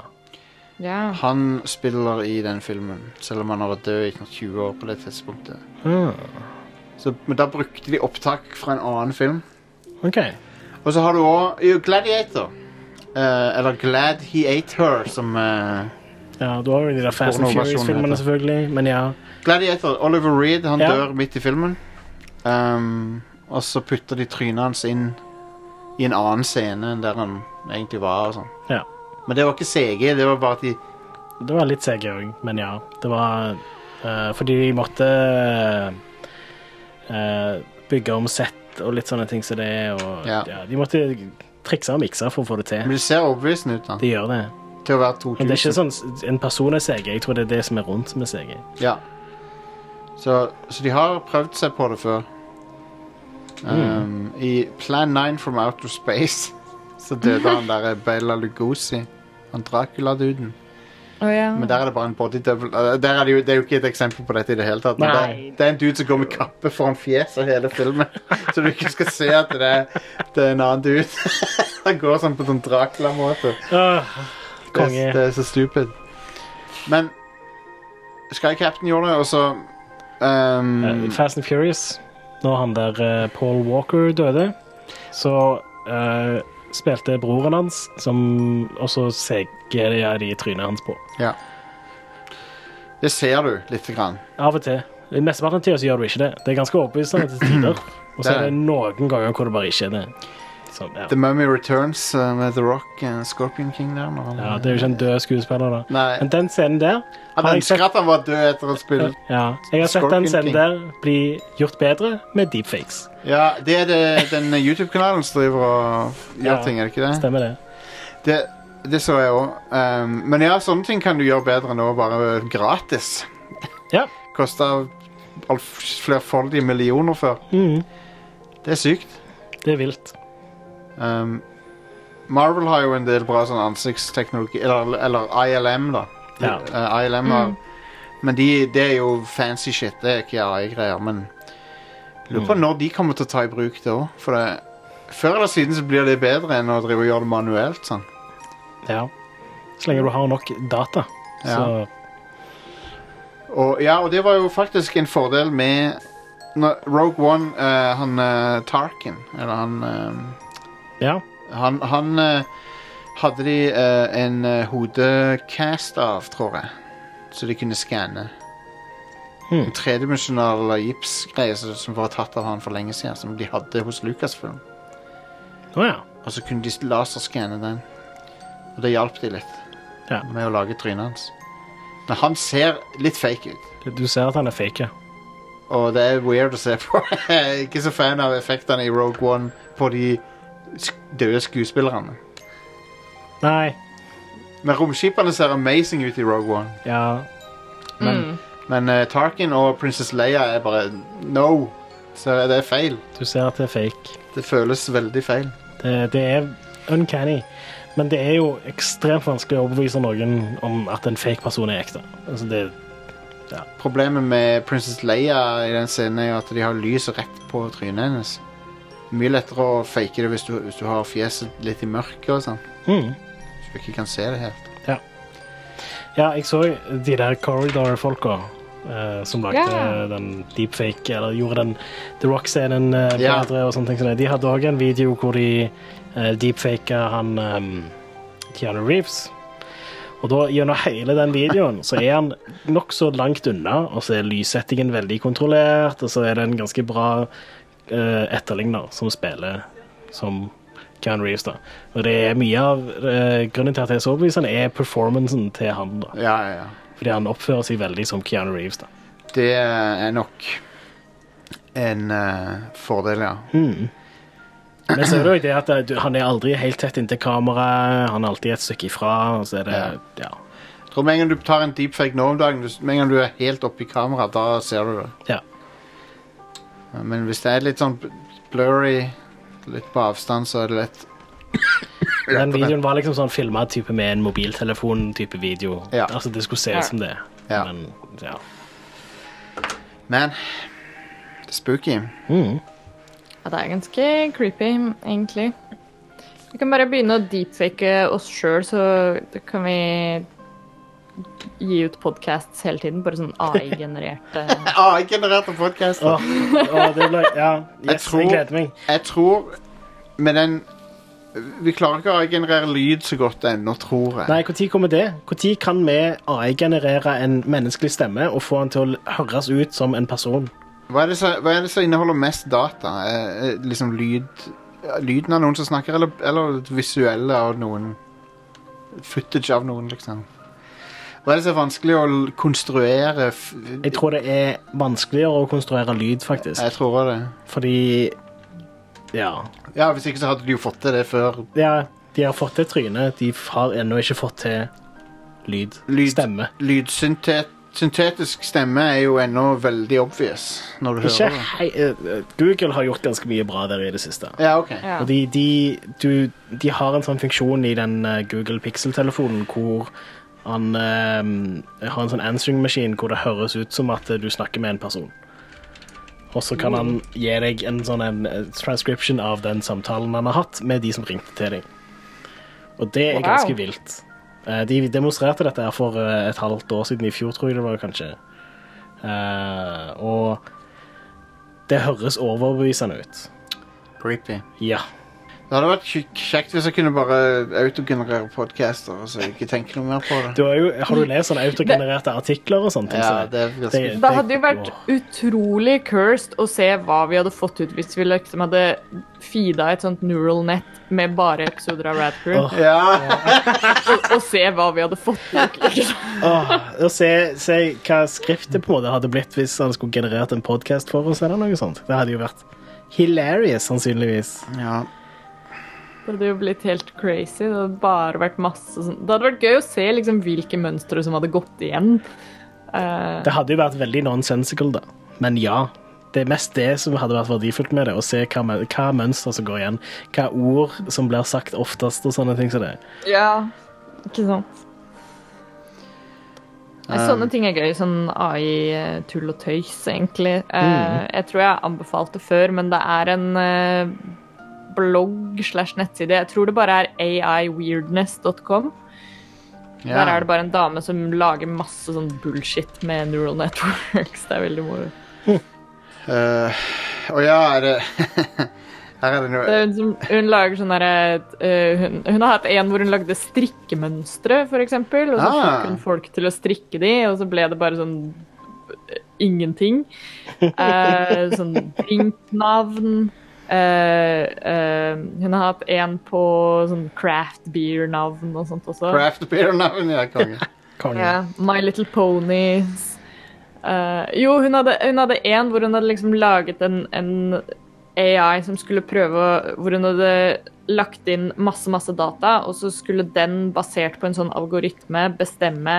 Speaker 2: Ja.
Speaker 3: Han spiller i den filmen, selv om han har vært død i sånn 20 år på det tidspunktet.
Speaker 4: Ah,
Speaker 3: Så, men da brukte de opptak fra en annen film.
Speaker 4: OK.
Speaker 3: Og så har du òg Gladiator. Eh, eller Glad He Ate Her, som eh,
Speaker 4: Ja, Du har jo de der Fast and
Speaker 3: Pornoversjonen
Speaker 4: Furious-filmene,
Speaker 3: heter
Speaker 4: selvfølgelig. Men ja.
Speaker 3: Gladiator, Oliver Reed, han
Speaker 4: Ja.
Speaker 3: dør midt i filmen. Um, og så putter de trynet hans inn i en annen scene enn der han egentlig var. Og sånn.
Speaker 4: ja.
Speaker 3: Men det var ikke CG, det var bare at de
Speaker 4: Det var litt CG òg, men ja. Det var eh, fordi de måtte eh, bygge om sett og litt sånne ting som det er, og ja.
Speaker 3: Ja.
Speaker 4: De måtte trikse og mikse for å få det til.
Speaker 3: Men det ser overbevisende ut, da.
Speaker 4: De gjør det.
Speaker 3: Til å være
Speaker 4: Men
Speaker 3: 2000.
Speaker 4: det er ikke sånn s- en person er CG. Jeg tror det er det som er rundt som er CG.
Speaker 3: Ja. Så, så de har prøvd seg på det før. Um,
Speaker 4: Mm.
Speaker 3: I Plan 9 from Outer Space så døde han der eh, Bela Lugosi. Han Dracula-duden.
Speaker 2: Å, ja.
Speaker 3: Men der er det bare en body double eh, der er det, jo, det er jo ikke et eksempel på dette i det hele tatt. Men
Speaker 4: Nei.
Speaker 3: det, det er en dude som går med kappe foran fjeset hele filmen, så du ikke skal se at det er, det er en annen dude. Han går sånn på sånn Dracula-måte.
Speaker 4: Åh,
Speaker 3: Det,
Speaker 4: konge.
Speaker 3: er- det er så stupid. Men Sky Captain gjorde det, og så
Speaker 4: Eh,
Speaker 3: ehm,
Speaker 4: Fast and Furious. Når han der eh, Paul Walker døde, så eh, spilte broren hans, som også CG-er de i trynet hans på.
Speaker 3: Ja. Det ser du lite grann.
Speaker 4: Av og til. I mesteparten av tida så gjør du ikke det. Det er ganske overbevisende til tider. Og så er det noen ganger hvor det bare ikke er det. Sånn, ja.
Speaker 3: The Mummy Returns eh, med The Rock og Scorpion King der. Når han,
Speaker 4: ja, Det er jo ikke en død skuespiller, da.
Speaker 3: Nei.
Speaker 4: Men den scenen der
Speaker 3: Han
Speaker 4: har jeg
Speaker 3: ønsker
Speaker 4: sett,
Speaker 3: at han var død etter å ha spilt
Speaker 4: ja, Jeg har sett
Speaker 3: Scorpion
Speaker 4: den scenen
Speaker 3: King.
Speaker 4: der bli gjort bedre med deepfakes.
Speaker 3: Ja, det er det, den YouTube-kanalen som driver og gjør
Speaker 4: Ja,
Speaker 3: ting, er det ikke det?
Speaker 4: Stemmer det?
Speaker 3: Det, det så jeg òg. Um, men ja, sånne ting kan du gjøre bedre nå, bare gratis.
Speaker 4: Ja.
Speaker 3: Kosta flerfoldige millioner før.
Speaker 4: Mhm.
Speaker 3: Det er sykt.
Speaker 4: Det er vilt.
Speaker 3: Um, Marvel har jo en del bra sånn ansiktsteknologi, eller, eller ILM, da.
Speaker 4: Ja.
Speaker 3: Eh, ILM har Men de, det er jo fancy shit, det er ikke AI-greier, men Lurer på når de kommer til å ta i bruk det òg, for det Før eller siden så blir det bedre enn å drive og gjøre det manuelt, sånn.
Speaker 4: Ja. Så lenge du har nok data. Så
Speaker 3: Og, ja, og det var jo faktisk en fordel med Nå, Rogue One, eh, han eh, Tarkin, eller han eh,
Speaker 4: Ja.
Speaker 3: Han, han eh, hadde de eh, en eh, hodecast av, tror jeg. Så de kunne skanne.
Speaker 4: Hmm.
Speaker 3: En tredimensjonal eh, gipsgreie som som var tatt av han for lenge siden, som de hadde hos Lucasfilm.
Speaker 4: Å ja.
Speaker 3: Og så kunne de laserskanne den. Og det hjalp de litt
Speaker 4: Ja.
Speaker 3: med å lage trynet hans. Men han ser litt fake ut.
Speaker 4: Du ser at han er fake. ja.
Speaker 3: Og det er weird å se på. Jeg er ikke så fan av effektene i Rogue One på de sk- døde skuespillerne.
Speaker 4: Nei.
Speaker 3: Men romskipene ser amazing ut i Rogue One.
Speaker 4: Ja. Mm.
Speaker 3: Men,
Speaker 2: Mm.
Speaker 3: men eh, Tarkin og Princess Leia er bare no. Så det er feil.
Speaker 4: Du ser at det er fake.
Speaker 3: Det føles veldig feil.
Speaker 4: Det, det er uncanny. Men det er jo ekstremt vanskelig å overbevise noen om at en fake person er ekte. Altså det,
Speaker 3: Problemet med Princess Leia i den scenen er jo at de har lyset rett på trynet hennes. Mye lettere å fake det hvis du, hvis du har fjeset litt i mørket og sånn.
Speaker 4: mm.
Speaker 3: Så du ikke kan se det helt.
Speaker 4: Ja, jeg så de der Corridor-folka eh, som lagde
Speaker 2: Ja.
Speaker 4: den deepfake, eller gjorde den The Rock-scenen eh,
Speaker 3: Ja.
Speaker 4: bedre og sånne ting. som det. De hadde òg en video hvor de eh, deepfaka han eh, Keanu Reeves. Og da, gjennom hele den videoen så er han nokså langt unna, og så er lyssettingen veldig kontrollert, og så er det en ganske bra eh, etterligner som spiller som Keanu Reeves. da. Og det er mye av eh, grunnen til at jeg er så overbevist, er performancen til han. da.
Speaker 3: Ja, ja, ja.
Speaker 4: Fordi han oppfører seg veldig som Keanu Reeves. da.
Speaker 3: Det er nok en eh, fordel, ja.
Speaker 4: Men så er det jo det at eh, du- han er aldri helt tett inntil kamera, han er alltid et stykke ifra. og så er det, ja.
Speaker 3: Jeg tror Med en gang du tar en deepfake nå om dagen, du- med en gang du er helt oppi kamera, da ser du det.
Speaker 4: Ja.
Speaker 3: Men hvis det er litt sånn bl- blurry, litt på avstand, så er det lett.
Speaker 4: Den videoen var liksom sånn filma type med en mobiltelefon-type video.
Speaker 3: Ja.
Speaker 4: Altså Det skulle se
Speaker 2: Ja.
Speaker 4: ut som det.
Speaker 3: Ja.
Speaker 4: Men, ja.
Speaker 3: Men det er spooky.
Speaker 4: Mm.
Speaker 2: Ja, det er ganske creepy, egentlig. Vi kan bare begynne å deepfake oss sjøl, så kan vi gi ut podcasts hele tiden. Bare sånn AI-genererte
Speaker 3: Ah, jeg genererte podkaster.
Speaker 4: Åh, åh, det ble, ja, yes,
Speaker 3: tror-
Speaker 4: jeg gleder meg.
Speaker 3: Jeg tror med den Vi klarer ikke å generere lyd så godt ennå, tror jeg.
Speaker 4: Nei, Når kommer det? Når kan vi AI-generere en menneskelig stemme og få han til å høres ut som en person?
Speaker 3: Hva er, det som, hva er det som inneholder mest data? Eh, eh, liksom lyd ja, Lyden av noen som snakker, eller, eller visuelle av noen? Footage av noen, liksom. Hva er det som er vanskelig å l- konstruere? f-
Speaker 4: Jeg tror det er vanskeligere å konstruere lyd, faktisk.
Speaker 3: Jeg tror det.
Speaker 4: Fordi Ja.
Speaker 3: Ja, Hvis ikke så hadde de jo fått til det før.
Speaker 4: ja de har fått til trynet. De har ennå ikke fått til lyd.
Speaker 3: Lyd.
Speaker 4: Stemme.
Speaker 3: Lydsyntet Syntetisk stemme er jo ennå veldig obvious når du
Speaker 4: Ikke
Speaker 3: hører det.
Speaker 4: hei, eh, Google har gjort ganske mye bra der i det siste.
Speaker 3: Ja, ok.
Speaker 2: ja.
Speaker 4: Og de, de, du, de har en sånn funksjon i den eh, Google Pixel-telefonen hvor han eh, har en sånn answering machine hvor det høres ut som at eh, du snakker med en person. Og så kan han
Speaker 2: Mm.
Speaker 4: gi deg en sånn en eh, transcription av den samtalen han har hatt med de som ringte til deg. Og det er
Speaker 2: Wow.
Speaker 4: ganske vilt. Eh, de demonstrerte dette her for eh, et halvt år siden, i fjor tror jeg det var kanskje. Eh, og det høres overbevisende ut.
Speaker 3: Creepy.
Speaker 4: Ja.
Speaker 3: Det hadde vært kjek- kjekt hvis jeg kunne bare autogenerere podcaster og så ikke tenke noe mer på det.
Speaker 4: Du har, jo, har du lest sånne autogenererte artikler og sånne ting?
Speaker 3: Ja,
Speaker 4: så-
Speaker 3: det er ganske
Speaker 4: Det-
Speaker 2: Det hadde jo vært
Speaker 4: Åh.
Speaker 2: utrolig cursed å se hva vi hadde fått ut hvis vi liksom hadde feeda et sånt neural net med bare episoder av Rad Crew,
Speaker 4: Åh.
Speaker 3: Ja,
Speaker 2: og se hva vi hadde fått ut. liksom.
Speaker 4: Åh, og se, se hva skriftet på en måte hadde blitt hvis han skulle generert en podkast for oss. eller noe sånt. Det hadde jo vært hilarious, sannsynligvis.
Speaker 3: ja.
Speaker 2: Det hadde jo blitt helt crazy. Det hadde bare vært masse sånn. Det hadde vært gøy å se liksom hvilke mønstre som hadde gått igjen. Eh,
Speaker 4: Det hadde jo vært veldig nonsensical, da. Men ja. Det er mest det som hadde vært verdifullt med det, å se hva, mø- hva mønster som går igjen. Hva ord som blir sagt oftest og sånne ting som det.
Speaker 2: ja, ikke sant? Nei, Sånne ting er gøy. Sånn AI-tull og tøys, egentlig. Eh, Jeg tror jeg anbefalte før, men det er en eh, blogg slash nettside. Jeg tror det bare er aiweirdness.com.
Speaker 3: ja.
Speaker 2: Der er det bare en dame som lager masse sånn bullshit med neural networks. Det er veldig moro.
Speaker 3: Eh, Å ja, er det Her er det
Speaker 2: Det er
Speaker 3: noe
Speaker 2: hun, som, hun lager sånn derre eh, hun, hun har hatt en hvor hun lagde strikkemønstre, for eksempel. Og så
Speaker 3: Ah.
Speaker 2: fikk hun folk til å strikke de, og så ble det bare sånn eh, ingenting. Eh, sånn drinknavn. Eh, eh, hun har hatt en på sånn craft beer-navn og sånt også.
Speaker 3: Craft beer-navn, ja, konge.
Speaker 4: Konge.
Speaker 2: Ja, My Little Ponies. Eh, jo, hun hadde, hun hadde en hvor hun hadde liksom laget en, en AI som skulle prøve å Hvor hun hadde lagt inn masse, masse data, og så skulle den, basert på en sånn algoritme, bestemme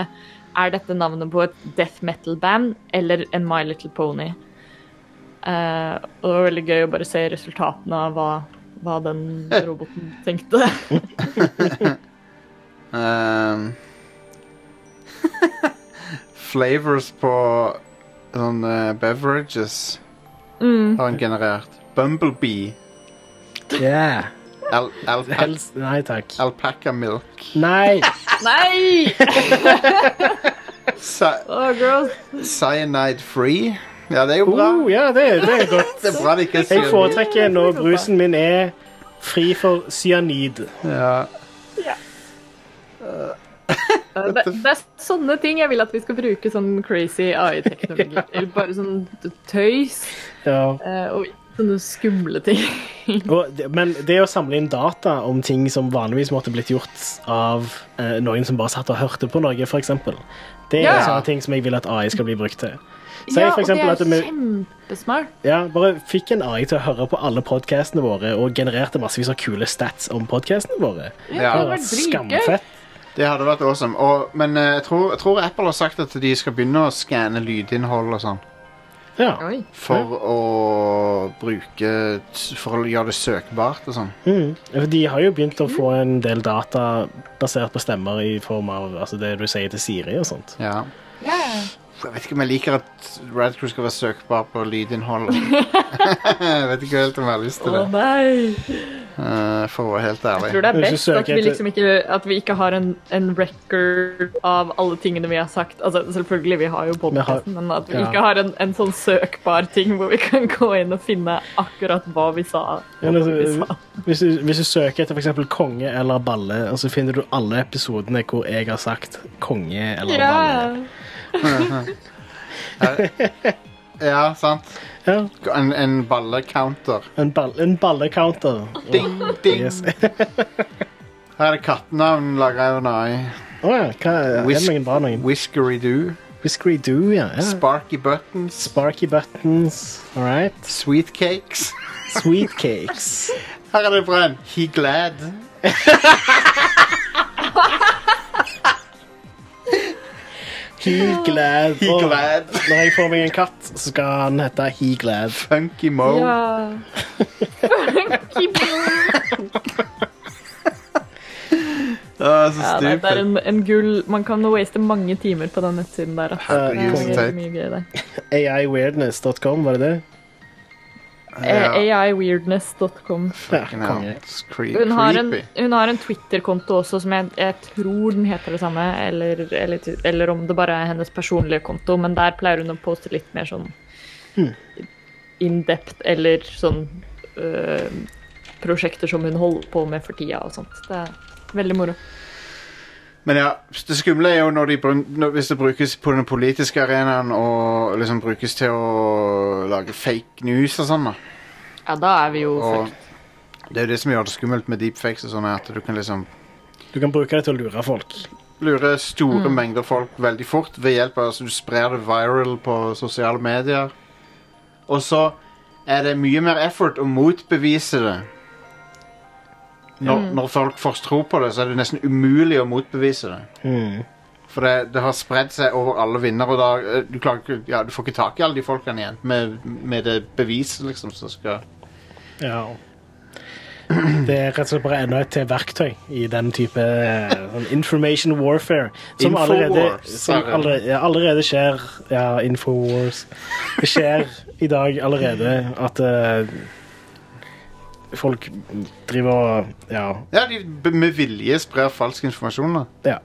Speaker 2: er dette navnet på et death metal-band eller en My Little Pony. Eh, og det var veldig gøy å bare se resultatene av hva, hva den roboten tenkte.
Speaker 3: Ehm. flavors på sånn eh, beverages
Speaker 2: Mm.
Speaker 3: har han generert. Bumblebee.
Speaker 4: Yeah.
Speaker 3: Al alpa
Speaker 4: Helst Nei takk.
Speaker 3: alpaca milk.
Speaker 4: Nei!
Speaker 2: Nei!
Speaker 3: Sa-
Speaker 2: Oh, gross.
Speaker 3: cyanide free. Ja, det er jo bra.
Speaker 4: Oh, ja, det, det er godt.
Speaker 3: Det er bra det ikke er
Speaker 4: Jeg
Speaker 3: cyanid.
Speaker 4: foretrekker når brusen min er fri for cyanid.
Speaker 3: Ja.
Speaker 2: Det, det er sånne ting jeg vil at vi skal bruke sånn crazy AI-teknologi. Eller bare sånn tøys
Speaker 4: Ja.
Speaker 2: eh, og sånne skumle ting. Mhm.
Speaker 4: Og, det- men det å samle inn data om ting som vanligvis måtte blitt gjort av eh, noen som bare satt og hørte på noe, f.eks., det
Speaker 2: Ja.
Speaker 4: er sånne ting som jeg vil at AI skal bli brukt til. Si
Speaker 2: ja, og
Speaker 4: for
Speaker 2: det
Speaker 4: eksempel
Speaker 2: er
Speaker 4: at vi
Speaker 2: kjempesmart.
Speaker 4: ja, bare fikk en AI til å høre på alle podkastene våre og genererte massevis av kule stats om podkastene våre.
Speaker 2: Ja,
Speaker 3: Ja,
Speaker 2: det var dritgøy.
Speaker 4: Skamfett.
Speaker 3: Det hadde vært awesome. Og, men eh, jeg tror, jeg tror Apple har sagt at de skal begynne å skanne lydinnhold og sånn.
Speaker 4: Ja.
Speaker 2: Oi.
Speaker 3: For å bruke For å gjøre det søkbart og sånn.
Speaker 4: Mm. For De har jo begynt å få en del data basert på stemmer i form av altså det du sier til Siri og sånt.
Speaker 3: Ja.
Speaker 2: Ja.
Speaker 3: Jeg vet ikke om jeg liker at Red Crew skal være søkbar på lydinnhold. jeg vet ikke helt om jeg har lyst
Speaker 2: Å
Speaker 3: til det,
Speaker 2: nei.
Speaker 3: eh, for å være helt ærlig.
Speaker 2: Jeg tror det er
Speaker 4: Hvis du
Speaker 2: best
Speaker 4: søker
Speaker 2: at vi
Speaker 4: etter-
Speaker 2: liksom ikke, at vi ikke har en, en record av alle tingene vi har sagt. Altså, selvfølgelig, vi har jo podcasten, men at vi
Speaker 4: ja.
Speaker 2: ikke har en, en sånn søkbar ting hvor vi kan gå inn og finne akkurat hva vi sa. og
Speaker 4: Men
Speaker 2: hva vi
Speaker 4: altså,
Speaker 2: sa.
Speaker 4: hvis, du, hvis du søker etter for eksempel konge eller balle, og så finner du alle episodene hvor jeg har sagt konge eller
Speaker 2: Ja.
Speaker 4: balle.
Speaker 3: Ja, sant.
Speaker 4: Ja,
Speaker 3: En, en ballecounter.
Speaker 4: en, ball, en ballecounter.
Speaker 3: Ding, ding.
Speaker 4: Yes.
Speaker 3: Her er det kattenavn laga av Nai.
Speaker 4: Å ja, hva er det
Speaker 3: Whisk-
Speaker 4: noen bra noen?
Speaker 3: Whiskery Doo.
Speaker 4: Whiskery Doo, ja. ja.
Speaker 3: Sparky Buttons.
Speaker 4: Sparky Buttons. All right.
Speaker 3: Sweet Cakes.
Speaker 4: Sweet Cakes.
Speaker 3: Her er det bra en He Glad.
Speaker 4: He glad.
Speaker 3: He
Speaker 4: Og
Speaker 3: Glad.
Speaker 4: Når jeg får meg en katt, så skal han hete He glad.
Speaker 3: Funky Mo.
Speaker 2: Ja. Keep going.
Speaker 3: Å, så
Speaker 2: ja, nei, det er
Speaker 3: stupid.
Speaker 2: en, en gull Man kan waste mange timer på den nettsiden der. ass.
Speaker 4: Eh,
Speaker 2: Det
Speaker 3: Herregud,
Speaker 2: er
Speaker 3: så
Speaker 2: mye,
Speaker 3: teit.
Speaker 2: mye gøy der.
Speaker 4: AIweirdness.com, var det det?
Speaker 2: Eh,
Speaker 3: Ja.
Speaker 2: AIweirdness.com.
Speaker 4: Ja,
Speaker 3: Fucking hell.
Speaker 4: konge.
Speaker 3: It's cre-
Speaker 2: Hun har en,
Speaker 3: creepy.
Speaker 2: hun har en Twitter-konto også som jeg, jeg tror den heter det samme, eller, eller, eller om det bare er hennes personlige konto, men der pleier hun å poste litt mer sånn
Speaker 3: Hmm.
Speaker 2: in-depth eller sånn øh, prosjekter som hun holder på med for tida og sånt. Det er veldig moro.
Speaker 3: Men ja, det skumle er jo når de, brun- når, hvis det brukes på den politiske arenaen og liksom brukes til å lage fake news og sånn. da.
Speaker 2: Ja, da er vi jo
Speaker 3: Og det er jo det som gjør det skummelt med deepfakes, og sånn er at du kan liksom
Speaker 4: Du kan bruke det til å lure folk.
Speaker 3: lure store mengder folk veldig fort ved hjelp av altså, Du sprer det viral på sosiale medier. Og så er det mye mer effort å motbevise det. Når, når folk først tror på det, så er det nesten umulig å motbevise det.
Speaker 4: Mm.
Speaker 3: For det, det har spredd seg over alle vinner, og da, eh, du, klarer, ikke- ja, du får ikke tak i alle de folkene igjen med, med det beviset liksom, som skal
Speaker 4: Ja. Det er rett og slett bare enda et til verktøy i den type eh, sånn information warfare. Som
Speaker 3: Infowars,
Speaker 4: allerede, som
Speaker 3: er det.
Speaker 4: allerede, ja, allerede skjer Ja, Infowars. Det skjer i dag allerede at eh, folk driver og Ja.
Speaker 3: Ja, de b- med vilje sprer falsk informasjon. da.
Speaker 4: ja.
Speaker 3: uh,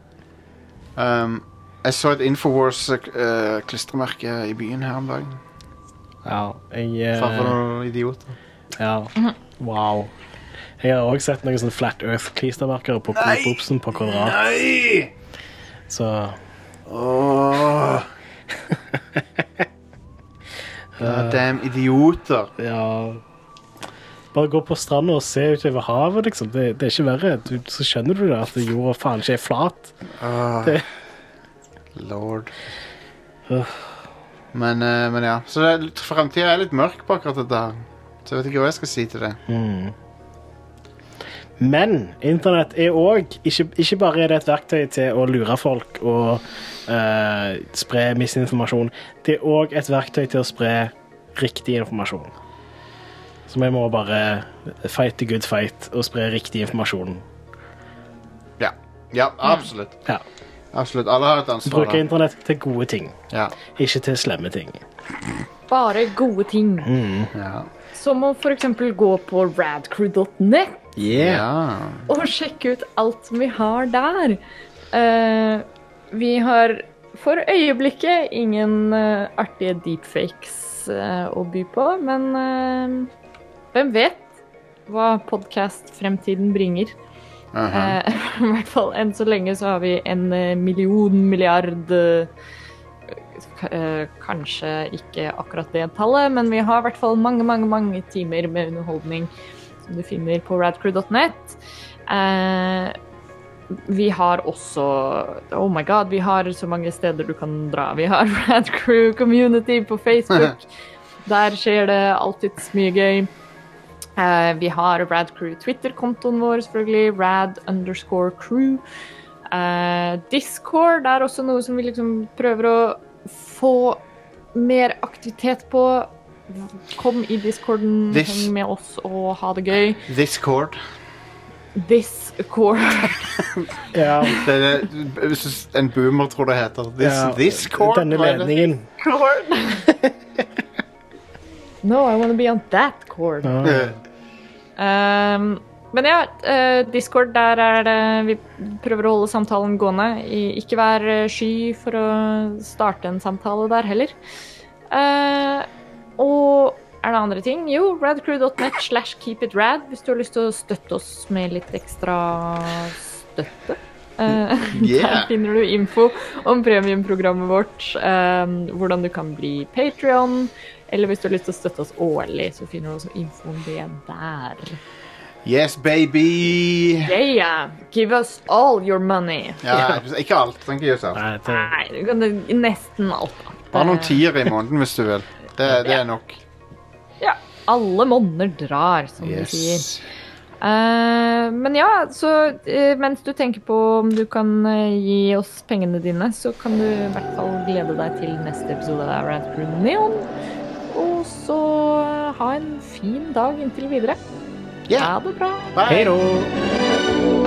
Speaker 3: Um, jeg så et Infowars-klistremerke i byen her om dagen.
Speaker 4: Ja, jeg eh,
Speaker 3: Framfor noen idioter.
Speaker 4: Ja. Wow. Jeg har òg sett noen sånne Flat Earth-klistremerker på Coop-Obsen på Konrad.
Speaker 3: Nei!
Speaker 4: Så
Speaker 3: Åh. God damn idioter.
Speaker 4: ja Bare gå på stranda og se utover havet, liksom. Det, det er ikke verre. Du, så skjønner du det, at jorda faen ikke er flat.
Speaker 3: Åh.
Speaker 4: Det-
Speaker 3: Lord.
Speaker 4: Øh.
Speaker 3: Men, eh, men ja. Så framtida er litt mørk på akkurat dette her. Så jeg vet ikke hva jeg skal si til det.
Speaker 4: Men internett er òg ikke, ikke bare er det et verktøy til å lure folk og eh, spre misinformasjon, det er òg et verktøy til å spre riktig informasjon. Så vi må bare fight the good fight og spre riktig informasjon.
Speaker 3: Ja. Ja, absolutt.
Speaker 4: Ja.
Speaker 3: Absolutt. Alle har et ansvar.
Speaker 4: Bruke
Speaker 3: da.
Speaker 4: internett til gode ting,
Speaker 3: Ja.
Speaker 4: ikke til slemme ting.
Speaker 2: Bare gode ting.
Speaker 3: Ja.
Speaker 2: Som å f.eks. gå på radcrew.net
Speaker 3: ja.
Speaker 2: og sjekke ut alt vi har der. Eh, vi har for øyeblikket ingen eh, artige deepfakes eh, å by på, men eh, hvem vet hva podkast-fremtiden bringer?
Speaker 3: Aha.
Speaker 2: Eh, I hvert fall enn så lenge så har vi en eh, million milliard eh, k- eh, Kanskje ikke akkurat det tallet, men vi har i hvert fall mange, mange, mange timer med underholdning som du finner på radcrew.net. Eh, vi har også Oh my god, vi har så mange steder du kan dra. Vi har Radcrew community på Facebook. Der skjer det alltids mye gøy. Eh, vi har Radcrew Twitter-kontoen vår, selvfølgelig. Rad underscore crew. Eh, Discord er også noe som vi liksom prøver å få mer aktivitet på. Kom i discorden,
Speaker 3: This-
Speaker 2: heng med oss og ha det gøy.
Speaker 3: Discord.
Speaker 2: Discord.
Speaker 4: Ja.
Speaker 3: Det er det jeg synes en boomer tror det heter. This, Discord?
Speaker 4: Denne
Speaker 3: hva er det?
Speaker 4: ledningen.
Speaker 2: No, I wanna be on that cord.
Speaker 4: Ja.
Speaker 2: Ehm, men ja, eh, Discord, der er det Vi prøver å holde samtalen gående. I- Ikke vær eh, sky for å starte en samtale der heller. Eh, og er det andre ting? Jo, radcrew.net slash keepitrad hvis du har lyst til å støtte oss med litt ekstra støtte. Eh,
Speaker 3: Yeah.
Speaker 2: Der finner du info om premiumprogrammet vårt, eh, hvordan du kan bli Patrion, eller hvis du har lyst til å støtte oss årlig, så finner du også info om det der.
Speaker 3: Yes, baby!
Speaker 2: Yeah, uh, give us all your money.
Speaker 3: Ja, ikke alt. Tenk ikke alt.
Speaker 4: Nei, det,
Speaker 2: Nei, du kan nesten alt. da.
Speaker 3: Bare noen tiere i måneden hvis du vil. Det, det er nok.
Speaker 2: Ja, alle monner drar, som de sier.
Speaker 3: Yes.
Speaker 2: Eh, men ja, så eh, mens du tenker på om du kan eh, gi oss pengene dine, så kan du i hvert fall glede deg til neste episode av Rad Crew Neon. Og så eh, ha en fin dag inntil videre.
Speaker 3: Ja.
Speaker 2: Ha det bra.
Speaker 3: Bye.
Speaker 4: Hei da.
Speaker 2: Hei.